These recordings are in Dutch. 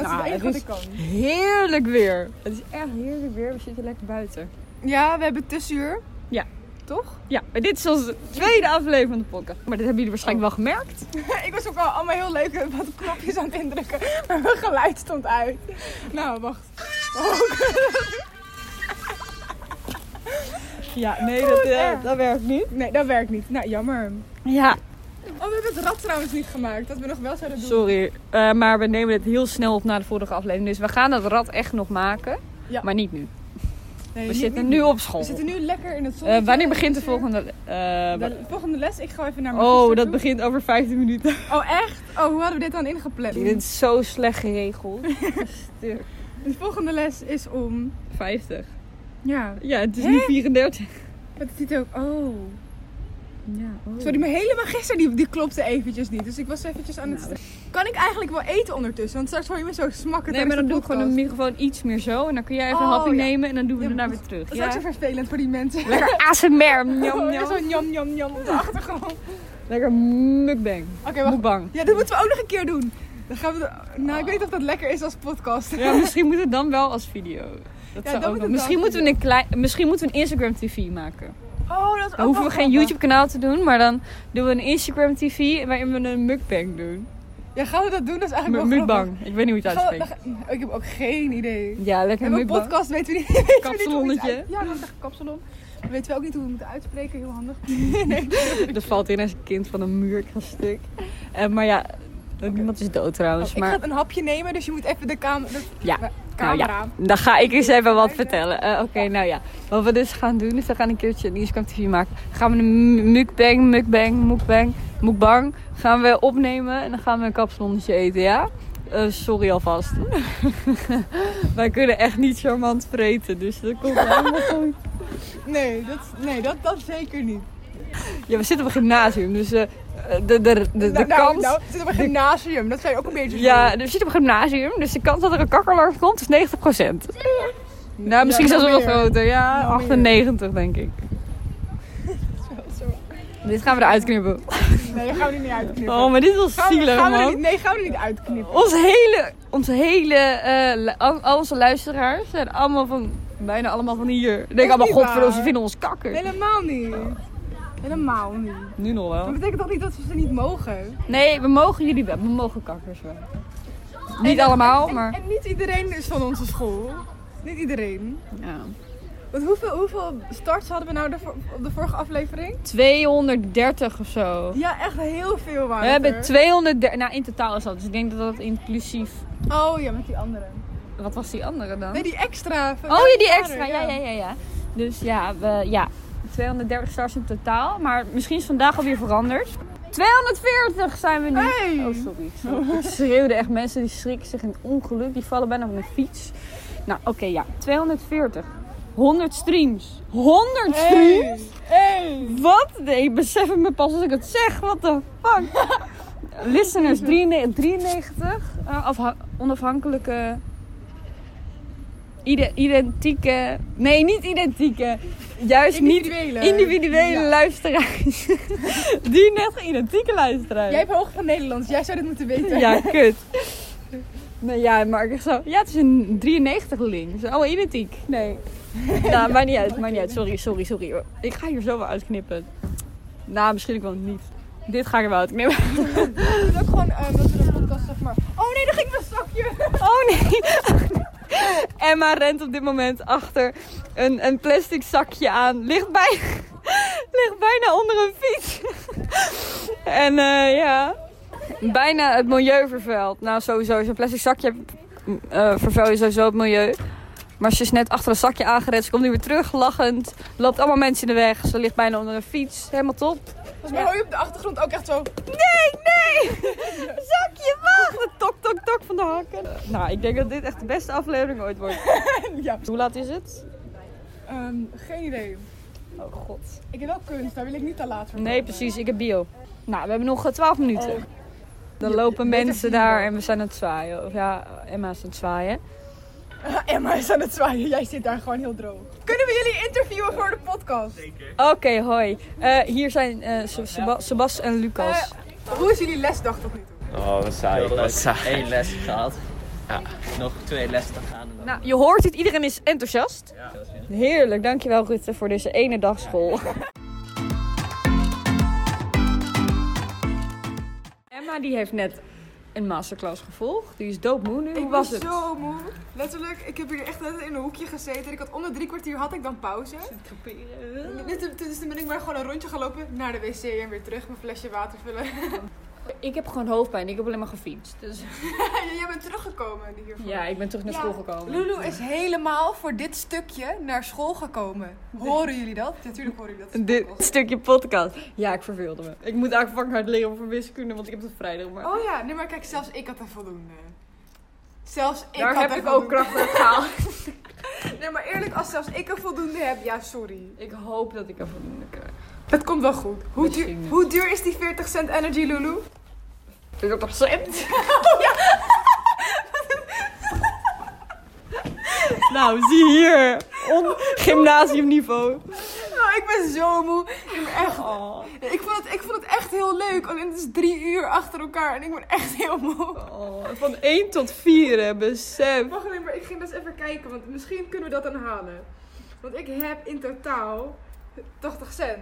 Ja, Eén het goede is kans. heerlijk weer. Het is echt heerlijk weer. We zitten lekker buiten. Ja, we hebben tussenuur. Ja. Toch? Ja, maar dit is onze tweede aflevering van de podcast. Maar dit hebben jullie waarschijnlijk wel gemerkt. ik was ook al allemaal heel leuk wat knopjes aan het indrukken. Maar mijn geluid stond uit. Nou, wacht. Ja, nee, dat, eh, dat werkt niet. Nee, dat werkt niet. Nou, jammer. Ja, Oh, we hebben het rad trouwens niet gemaakt. Dat we nog wel zouden doen. sorry. Eh, maar we nemen dit heel snel op na de vorige aflevering. Dus we gaan dat rad echt nog maken. Ja. Maar niet nu. Nee, We niet- zitten niet- nu op school. We zitten nu lekker in het zonnetje. Eh, wanneer begint de Lekker. volgende... eh, wa- De volgende les? Ik ga even naar mijn oh, zuster dat toe. begint over 15 minuten. Oh, echt? Oh, hoe hadden we dit dan ingepland? Dit is zo slecht geregeld. De volgende les is om... 50. Ja, Ja, het is Hè? nu 34. het ziet ook... Oh... Ja, oh. Sorry, maar helemaal gisteren die, die klopte eventjes niet. Dus ik was eventjes aan het... Nou, Kan ik eigenlijk wel eten ondertussen? Want straks hoor je me zo smakken Nee, maar dan doe ik gewoon de microfoon iets meer zo. En dan kun jij even een Oh, hapje ja. nemen en dan doen we Ja, daarna maar weer terug. Dat is ook zo Ja. vervelend voor die mensen. Lekker ASMR. Njam, Oh, njam. Zo'n jam jam jam op de achtergrond. Oké, Lekker mukbang. wacht. Mukbang. Ja, dat moeten we ook nog een keer doen. Dan gaan we... de- Nou, ik weet niet of dat lekker is als podcast. Ja, misschien moet het dan wel als video. Dat Ja, dan moet zou ook wel- het misschien, wel moeten we een klein, misschien moeten we een Instagram TV maken. Oh, dat is Dan ook hoeven we wel geen grappig. YouTube kanaal te doen, maar dan doen we een Instagram TV waarin we een mukbang doen. Ja, gaan we dat doen? Dat is eigenlijk Mu- wel grappig. Mukbang. Ik weet niet hoe je het Gaan we- uitspreekt. dan ga- Ik heb ook geen idee. Ja, lekker En mijn mukbang. podcast weten we niet. weten we niet hoe het Kapsalonnetje. uit- Ja, dat is echt een kapsalon. We weten wel ook niet hoe we moeten uitspreken. Heel handig. Er valt in als een kind van een muur stuk. Eh, maar ja, niemand is dood trouwens. Oh, Dus maar... Ik ga een hapje nemen, dus je moet even de, kam de Ja, de Nou camera. ja, dan ga ik eens even wat vertellen. Eh, Oké, nou ja. Wat we dus gaan doen, is we gaan een keertje een Instagram TV maken. Gaan we een mu- mukbang, mukbang, mukbang, mukbang. Gaan we opnemen en dan gaan we een kapsalonnetje eten, ja? Eh, sorry alvast. Wij kunnen echt niet charmant vreten, dus dat komt helemaal goed. Nee, dat, nee dat, dat zeker niet. Ja, we zitten op een gymnasium, dus eh, de, de, de, de nou, nou, kans... nou, het zit op een gymnasium. Dat zijn ook een beetje Ja, we zitten op een gymnasium, dus de kans dat er een kakkerlarm komt is 90%. Nou, misschien Ja, zelfs nog wel meer. groter. Ja, Nog meer. 98 denk ik. Zo. Dit gaan we eruit knippen. Nee, dat gaan we er niet uitknippen. Oh, maar dit was gaan we, zielig, gaan we er man. niet, nee, gaan we er niet uitknippen. Onze hele, onze hele, eh, lu- al, al onze luisteraars zijn allemaal van, bijna allemaal van hier. Ik denk allemaal, niet godverdomme, waar. ze vinden ons kakker. Helemaal niet. Helemaal niet. Nu nog Dat wel. betekent toch niet dat we ze niet mogen? Nee, we mogen jullie wel, we mogen kakkers wel. Niet allemaal, En- maar... En niet iedereen is van onze school. Niet iedereen. Ja. Want hoeveel, hoeveel starts hadden we nou de, vo- op de vorige aflevering? 230 of zo. Ja, echt heel veel waren We hebben 230, nou in totaal is dat, dus ik denk dat dat inclusief... Oh ja, met die andere. Wat was die andere dan? Nee, die extra. van- Oh ja, die vader, extra. Ja, ja, ja, ja. Dus ja, we, ja, 230 stars in totaal. Maar misschien is vandaag alweer veranderd. 240 zijn we nu. Hey. Oh, sorry. sorry. Ik schreeuwde echt mensen die schrikken zich in ongeluk. Die vallen bijna van hun fiets. Nou, oké, ja. 240. 100 streams. 100 streams? Hey. Hey. Wat? Nee, ik besef het me pas als ik het zeg. What the fuck? Listeners, 93. eh, afha- onafhankelijke... ide- identieke... Nee, niet identieke. Juist niet Individuele. individuele Ja. luisteraars. Die net identieke luisteraars. Jij hebt hoog van Nederlands, jij zou dit moeten weten. Ja, kut. Nee, ja, maar ik zo... Ja, het is een 93 link. Zo, oh, identiek. Nee. Nou, maakt niet uit, maakt niet uit. Sorry, sorry, sorry. Ik ga hier zo wel uitknippen. Nou, misschien ook wel niet. Dit ga ik er wel uitknippen. Het is ook gewoon ehm, dat we de podcast zeg maar. Oh nee, daar ging mijn zakje. Oh nee. Emma rent op dit moment achter een, een plastic zakje aan. Ligt, bij, ligt bijna onder een fiets. en eh, ja. Bijna het milieu vervuilt. Nou, sowieso. Zo'n plastic zakje eh vervuil je sowieso het milieu. Maar ze is net achter een zakje aangerend. Ze komt nu weer terug, lachend. Loopt allemaal mensen in de weg. Ze ligt bijna onder een fiets. Helemaal top. Volgens mij hoor je op de achtergrond ook echt zo. Nee, nee! Zakje, wacht! Tok, tok, tok van de hakken. Nou, ik denk dat dit echt de beste aflevering ooit wordt. Ja. Hoe laat is het? Ehm, geen idee. Oh god. Ik heb wel kunst, daar wil ik niet te laat voor. Nee, komen. precies, ik heb bio. Nou, we hebben nog eh, 12 Oh. minuten. Dan lopen beter mensen bio. daar en we zijn aan het zwaaien. Of ja, Emma is aan het zwaaien. Ah, Emma is aan het zwaaien, jij zit daar gewoon heel droog. Kunnen we jullie interviewen voor de podcast? Oké, hoi. Eh, hier zijn eh, Seb- Seba- Sebas en Lucas. Eh, hoe is jullie lesdag tot nu toe? Oh, wat saai. Wat saai. één les gehad. Ja, nog twee lessen te gaan. En dan... Nou, je hoort het, iedereen is enthousiast. Heerlijk, dankjewel Rutte voor deze ene dag school. Emma die heeft net een masterclass gevolgd. Die is doodmoe nu. Hoe ik was ben het? zo moe. Letterlijk, ik heb hier echt net in een hoekje gezeten. Ik had om de drie kwartier had ik dan pauze. Dus toen- dus toen ben ik maar gewoon een rondje gelopen naar de wc en weer terug mijn flesje water vullen. Ik heb gewoon hoofdpijn. Ik heb alleen maar gefietst. Dus... Jij bent teruggekomen hiervoor. Ja, ik ben terug naar Ja, school gekomen. Lulu is helemaal voor dit stukje naar school gekomen. Horen jullie dat? Natuurlijk horen jullie dat. Dit stukje podcast. Ja, ik verveelde me. Ik moet eigenlijk fucking hard leren voor wiskunde, want ik heb het vrijdag. Maar... Oh ja, nee maar kijk, zelfs ik had er voldoende. Zelfs ik Daar had heb er ik ook voldoende. kracht voor gehaald. Nee maar eerlijk, als zelfs ik er voldoende heb, ja sorry. ik hoop dat ik er voldoende krijg. Het komt wel goed. Hoe Misschien duur, niet. hoe duur is die 40 cent energy Lulu? 40 cent? nou, zie hier. On gymnasiumniveau. Oh, ik ben zo moe. Ik, ben echt, Oh, ik, vond het, ik vond het echt heel leuk. Alleen het is drie uur achter elkaar en ik ben echt heel moe. oh. Van 1 tot 4, hè, besef. Wacht alleen, maar ik ging dus even kijken, want misschien kunnen we dat dan halen. Want ik heb in totaal 80 cent.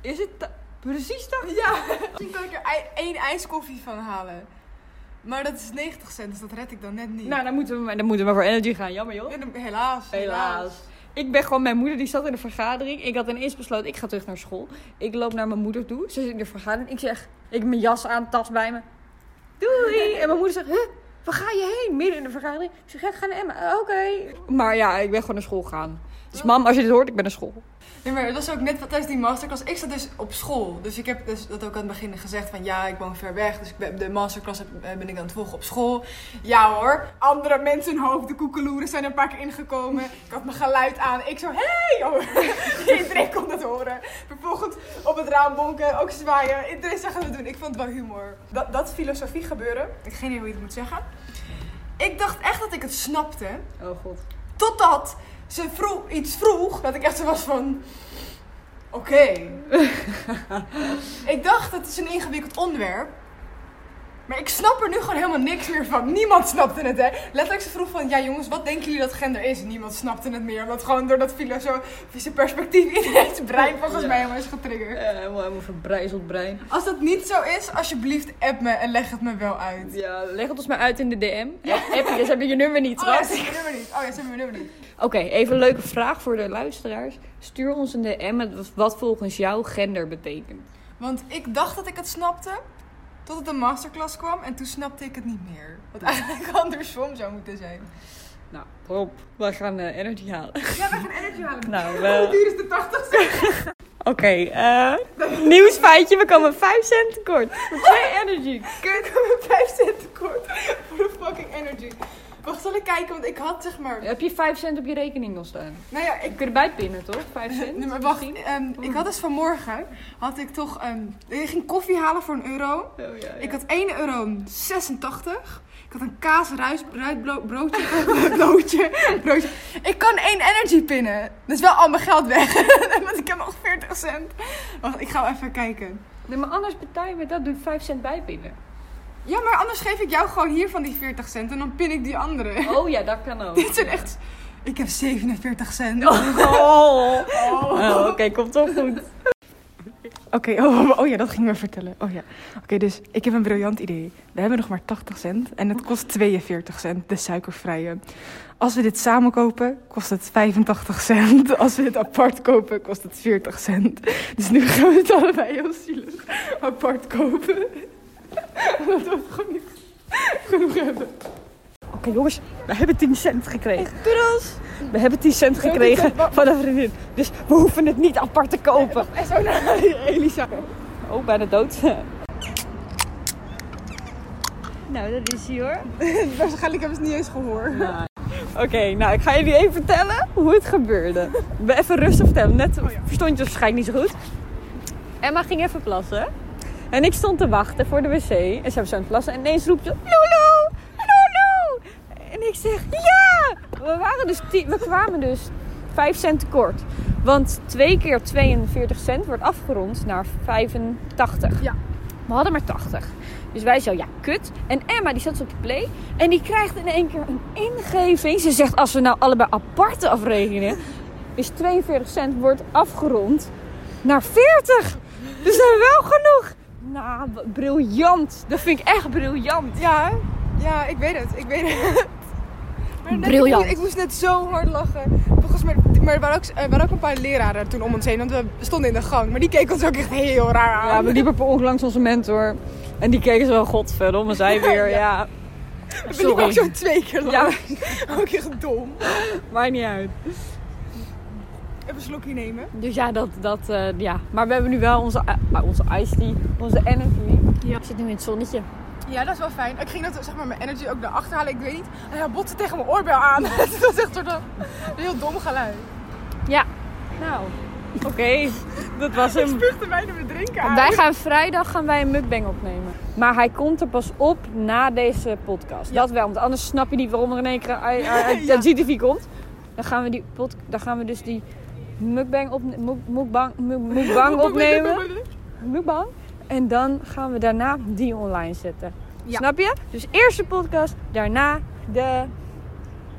Is het ta- precies dat? Ja, misschien kan ik er ei- één ijskoffie van halen. Maar dat is 90 cent, dus dat red ik dan net niet. Nou, dan moeten, we, maar- dan moeten we maar voor energy gaan. Jammer, joh. Ja, dan- nou. helaas, Helaas. Ik ben gewoon mijn moeder, die zat in de vergadering. Ik had ineens besloten, ik ga terug naar school. Ik loop naar mijn moeder toe. Ze zit in de vergadering. Ik zeg, ik heb mijn jas aan, tas bij me. Doei! En mijn moeder zegt, huh, waar ga je heen? Midden in de vergadering. Ik zeg, "Ja, ik ga naar Emma. "Ah, Oké. Maar ja, ik ben gewoon naar school gegaan. Dus mam, als je dit hoort, ik ben naar school. Nee, maar dat was ook net wat tijdens die masterclass. Ik zat dus op school. Dus ik heb dus dat ook aan het begin gezegd van ja, ik woon ver weg. Dus ik ben, de masterclass heb- eh, ben ik aan het volgen op school. Ja hoor, andere mensen hun hoofd, de koekeloeren zijn er een paar keer ingekomen. Ik had mijn geluid aan. Ik zo, hé! Hey! Oh, iedereen kon dat horen. Vervolgens op het raam bonken, ook zwaaien. Iedereen zag wat we doen. Ik vond het wel humor. Dat, dat filosofie gebeuren. Ik heb geen idee hoe je het moet zeggen. Ik dacht echt dat ik het snapte. Oh god. Totdat ze vroeg, iets vroeg dat ik echt zo was van... Oké. ik dacht, het is een ingewikkeld onderwerp. Maar ik snap er nu gewoon helemaal niks meer van. Niemand snapte het, hè. Letterlijk, ze vroeg van... Ja, jongens, wat denken jullie dat gender is? Niemand snapte het meer. Omdat gewoon door dat filosofische perspectief... iedereen's brein volgens Ja. mij helemaal is getriggerd. Eh, helemaal, helemaal verbrijzeld brein. Als dat niet zo is, alsjeblieft app me en leg het me wel uit. Ja, leg het ons maar uit in de DM. Ja. App, dus heb je je nummer niet, Oh ja, schat. ze hebben mijn nummer niet. Oh ja, ze hebben mijn nummer niet. Oké, even een leuke vraag voor de luisteraars. Stuur ons een DM met wat volgens jou gender betekent. Want ik dacht dat ik het snapte, tot het een masterclass kwam en toen snapte ik het niet meer. Wat eigenlijk andersom zou moeten zijn. Nou, Rob, wij gaan eh, energy halen. Ja, we gaan energy halen. Nou, Hoe wel. duur is de 80 cent? Oké, eh nieuwsfeitje. We komen 5 cent tekort voor twee energy. Ik kom met 5 cent tekort voor de fucking energy. Wacht, zal ik kijken, want ik had zeg maar... Heb je 5 cent op je rekening nog staan? Nou ja, ik... Ik kun je erbij pinnen, toch? 5 cent? Nee, maar wacht, misschien? ehm, ik had dus vanmorgen, had ik toch, ehm, ik ging koffie halen voor een euro. Oh, ja, ja. Ik had 1,86 euro. Ik had een kaas ruis, broodje, broodje, broodje. Ik kan één energy pinnen. Dat is wel al mijn geld weg. Want ik heb nog 40 cent. Wacht, ik ga even kijken. Nee, maar anders betaal je me dat. Doe 5 cent bijpinnen. Ja, maar anders geef ik jou gewoon hiervan die 40 cent. En dan pin ik die andere. Oh ja, dat kan ook. Dit zijn echt... Ik heb 47 cent. Oh, Oh, oké, komt toch goed. Oké, oh, oh, oh ja, dat ging me vertellen. Oh ja. Oké, dus ik heb een briljant idee. We hebben nog maar 80 cent en het kost 42 cent, de suikervrije. Als we dit samen kopen, kost het 85 cent. Als we dit apart kopen, kost het 40 cent. Dus nu gaan we het allebei heel zielig apart kopen. Omdat we het gewoon niet genoeg hebben. Oké jongens, we hebben 10 cent gekregen. Doedels! We hebben 10 cent gekregen van een vriendin. Dus we hoeven het niet apart te kopen. En zo naar Elisa. Oh, bijna dood. Nou, dat is hij hoor. Waarschijnlijk hebben ze het niet eens gehoord. Oké, nou ik ga jullie even vertellen hoe het gebeurde. We even rustig vertellen. Net verstond je het waarschijnlijk niet zo goed. Emma ging even plassen. En ik stond te wachten voor de wc. En ze was zo aan het plassen. En ineens roept ze: Lulu! Lulu! En ik zeg: Ja! We, waren dus ti- we kwamen dus 5 cent tekort. Want 2 keer 42 cent wordt afgerond naar 85. Ja. We hadden maar 80. Dus wij zo, ja, kut. En Emma, die zat zo op de play. En die krijgt in één keer een ingeving. Ze zegt, als we nou allebei aparte afrekenen... is 42 cent wordt afgerond naar 40. Dus dat is wel genoeg. Nou, wat briljant. Dat vind ik echt briljant. Ja, ja, ik weet het. Ik weet het. Maar net- Briljant. Ik, ik moest net zo hard lachen. Volgens mij, maar er waren ook, er waren ook een paar leraren toen om ons heen. Want we stonden in de gang. Maar die keken ons ook echt heel raar aan. Ja, we liepen per ongeluk langs onze mentor. En die keken zo, godverdomme, zij weer. Ja, we liepen ook sorry. zo twee keer Ja, lang. Ook echt dom. maakt niet uit. Even een slokje nemen. Dus ja, dat, dat eh, ja. Maar we hebben nu wel onze, eh, onze iced tea, onze energy. Ja. Ik zit nu in het zonnetje. Ja, dat is wel fijn. Ik ging dat, zeg maar, mijn energy ook naar achter halen. Ik weet niet. En hij botste tegen mijn oorbel aan. dat was echt soort van- een heel dom geluid. Ja. Nou, oké. Dat was Ik hem. spuugde bijna mijn drinken aan. Wij gaan vrijdag gaan wij een mukbang opnemen. Maar hij komt er pas op na deze podcast. Dat wel, want anders snap je niet waarom er in één keer een ei- ei- ei- Ja. een CTV komt. Dan gaan we, die pod, dan gaan we dus die mukbang, op, muk- mukbang, muk- mukbang opnemen. mukbang. En dan gaan we daarna die online zetten. Ja. Snap je? Dus eerst de podcast, daarna de...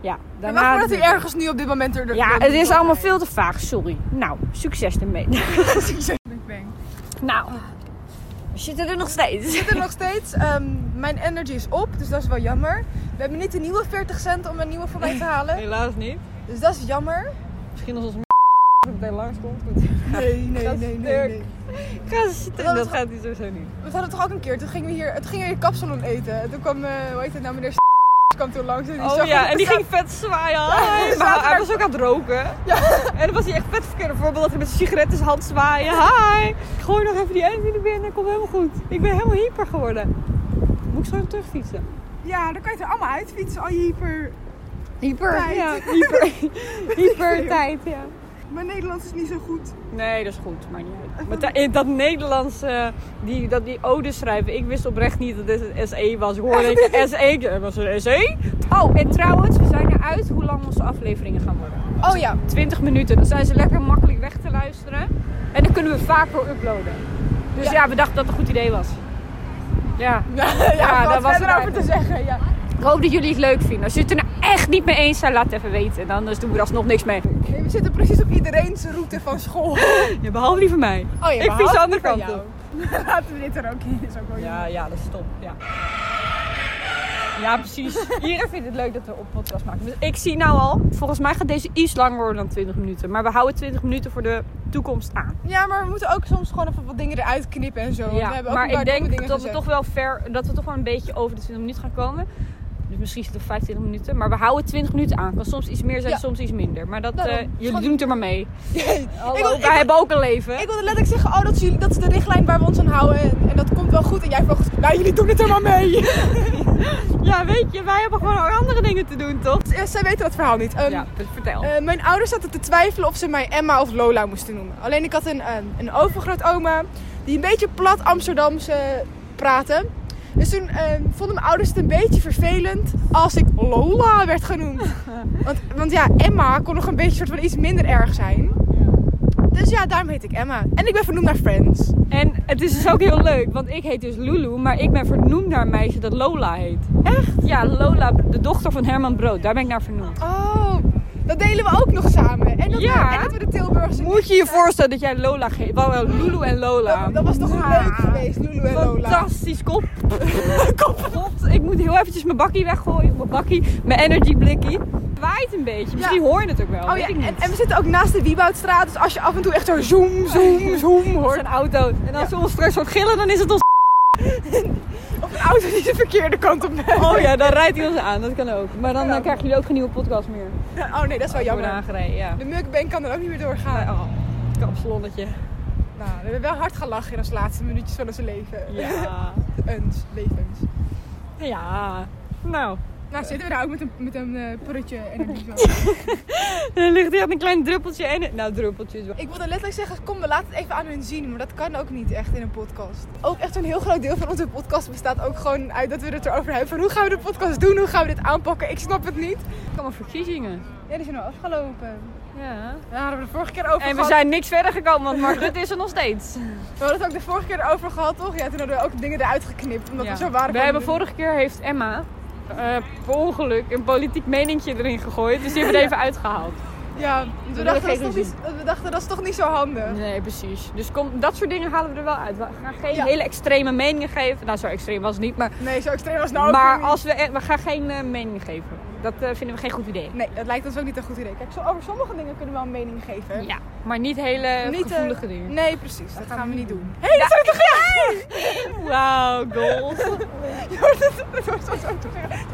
Ja, En daarna... wacht maar dat de- hij ergens nu op dit moment er... Ja, er- het is allemaal veel te vaag, sorry. Nou, succes ermee. Ik ben- nou, we zitten er nog steeds. Ik zit er nog steeds. Ehm, mijn energy is op, dus dat is wel jammer. We hebben niet de nieuwe 40 cent om een nieuwe voor mij te halen. Helaas niet. Dus dat is jammer. Misschien als ons meteen langs komt. Nee, nee, Dat is nee, nee, sterk. nee. Ga zitten. Dat Dat gaat niet sowieso niet. We hadden toch ook een keer, toen gingen we hier, toen gingen we hier kapsalon eten. En toen kwam, eh hoe heet het nou, meneer kwam toen langs. En die Oh zag ja, ook- en die ging vet zwaaien. hij Hi. zat Maar hij er- was ook aan het roken. En dan was hij echt vet verkeerd. Bijvoorbeeld dat hij met zijn sigaret in zijn hand zwaaien. Hi! Gooi nog even die energie naar binnen. Komt helemaal goed. Ik ben helemaal hyper geworden. Moet ik zo terugfietsen? Ja, dan kan je er allemaal uitfietsen, al je hyper... Hyper. Tijd. Ja, hyper. hyper tijd, ja. Mijn Nederlands is niet zo goed. Nee, dat is goed, maar niet uit. Maar da- in dat Nederlands, eh, die, dat die ode schrijven, ik wist oprecht niet dat dit een SE was. Ik hoorde ik een SE, ik, eh, was het een SE? Oh, en trouwens, we zijn eruit hoe lang onze afleveringen gaan worden. Oh ja, 20 minuten, dan zijn ze lekker makkelijk weg te luisteren. En dan kunnen we vaker uploaden. Dus ja, we dachten dat het een goed idee was. Ja. ja, daar wat was was het er over te zeggen. Ja. Ik hoop dat jullie het leuk vinden. Als jullie het er nou echt niet mee eens zijn, laat het even weten. En anders doen we er alsnog niks mee. Nee, we zitten precies op iedereen's route van school. Ja, behalve die van mij. Oh, ik behalve fiets de andere van kant jou. op. Laten we dit er ook in, is ook wel Ja, ja, dat is top. Ja. Ja, precies. Iedereen vindt het leuk dat we op podcast maken. Dus ik zie nou al, volgens mij gaat deze iets langer worden dan 20 minuten. Maar we houden 20 minuten voor de toekomst aan. Ja, maar we moeten ook soms gewoon even wat dingen eruit knippen en zo. want we hebben ook maar een paar ik domme denk dat dingen we gezegd. toch wel ver, dat we toch wel een beetje over de 20 minuten gaan komen. Dus misschien zitten we 25 minuten. Maar we houden 20 minuten aan. Kan soms iets meer zijn, Ja. Nou, soms iets minder. Maar dat, Daarom. eh, jullie doen het er maar mee. Hallo, wil- wij ik- hebben ook een leven. Ik wilde letterlijk zeggen, oh, dat is, jullie, dat is de richtlijn waar we ons aan houden. En, en dat komt wel goed. En jij vroeg, nou, jullie doen het er maar mee. ja, weet je, wij hebben gewoon andere dingen te doen, toch? Eh, Zij weten dat verhaal niet. Ehm, ja, vertel. eh, mijn ouders zaten te twijfelen of ze mij Emma of Lola moesten noemen. Alleen ik had een, ehm, een overgrootoma die een beetje plat Amsterdamse praatte. Dus toen ehm, vonden mijn ouders het een beetje vervelend als ik Lola werd genoemd. Want, want ja, Emma kon nog een beetje soort van iets minder erg zijn. Dus ja, daarom heet ik Emma. En ik ben vernoemd naar Friends. En het is dus ook heel leuk, want ik heet dus Lulu, maar ik ben vernoemd naar een meisje dat Lola heet. Echt? Ja, Lola, de dochter van Herman Brood. Daar ben ik naar vernoemd. Oh, dat delen we ook nog samen. En dat, Ja. we, en dat we de Tilburgse... Moet je je voorstellen dat jij Lola heet? Wel, wel, Lulu en Lola. Dat, dat was toch leuk geweest, Lulu en Lola. Fantastisch, kop. kop. God, ik moet heel eventjes mijn bakkie weggooien. Mijn bakkie, mijn energy blikkie. Het waait een beetje, misschien Ja. hoor je het ook wel, Oh weet ja, ik niet. en, en we zitten ook naast de Wieboudstraat. Dus als je af en toe echt zo zoom, zoom, zoom Hoort hoort. een auto. En als ze ons straks hoort gillen, dan is het ons... Of een auto die de verkeerde kant op neemt. Oh ja, dan rijdt hij ons aan, dat kan ook. Maar dan Ja. eh, krijgen jullie ook geen nieuwe podcast meer. Oh nee, dat is wel Worden jammer. aangereden, ja. De mukbang kan er ook niet meer doorgaan. Oh, kapsalonnetje. Nou, we hebben wel hard gelachen in onze laatste minuutjes van ons leven. Ja. Ons levens. Ja. Nou, Nou, zitten we daar ook met een, met een eh, pruttje en een biezo. er ligt hier een klein druppeltje en... Nou, druppeltjes. Ik wilde letterlijk zeggen, kom, we laten het even aan hun zien. Maar dat kan ook niet echt in een podcast. Ook echt een heel groot deel van onze podcast bestaat ook gewoon uit dat we het erover hebben. Van hoe gaan we de podcast doen? Hoe gaan we dit aanpakken? Ik snap het niet. Allemaal verkiezingen. Ja, die zijn al afgelopen. Ja. Daar hadden we de vorige keer over En we gehad. zijn niks verder gekomen, want Mark Rutte is er nog steeds. We hadden het ook de vorige keer over gehad, toch? Ja, toen hadden we ook dingen eruit geknipt, omdat Ja. we zo waren. We gaan hebben doen. vorige keer heeft Emma eh, per ongeluk een politiek meningje erin gegooid. Dus die hebben we er even uitgehaald. Ja, want we er dachten, dat is geen toch niet, we dachten dat is toch niet zo handig. Nee, precies. Dus kom, dat soort dingen halen we er wel uit. We gaan geen Ja. hele extreme meningen geven. Nou, zo extreem was het niet. Maar, Nee, zo extreem was het nou ook weer maar niet. als we, eh, we gaan geen eh, mening geven. Dat eh, vinden we geen goed idee. Nee, dat lijkt ons ook niet een goed idee. Kijk, zo, over sommige dingen kunnen we wel een mening geven. Ja, maar niet hele Niet, eh, gevoelige dingen. Nee, precies. Dat, gaan, we niet doen. Wauw, goals. Dat wordt zo zo tegelijk.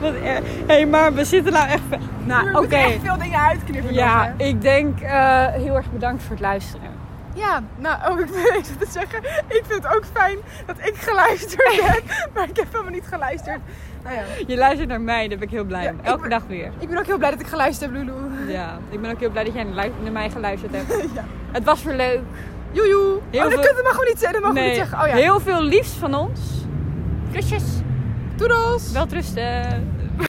Wat erg. hey, maar we zitten nou echt... ver- Nou, oké. We moeten echt veel dingen uitknippen. nog, Ja, hè. ik denk eh, heel erg bedankt voor het luisteren. Ja, nou, oh, ik wil even te zeggen. Ik vind het ook fijn dat ik geluisterd heb. Maar ik heb helemaal niet geluisterd. Nou ja. Je luistert naar mij, daar ben ik heel blij Ja, om. ik Elke ben- dag weer. Ik ben ook heel blij dat ik geluisterd heb, Lulu. Ja, ik ben ook heel blij dat jij naar lui- naar mij geluisterd hebt. Ja. Het was weer leuk. Joejoe. Heel oh, dat, veel- kunt, dat mogen we niet zeggen. Oh Dat mogen we niet zeggen. Oh ja. Heel veel liefs van ons. Kusjes. Doedels. Welterusten.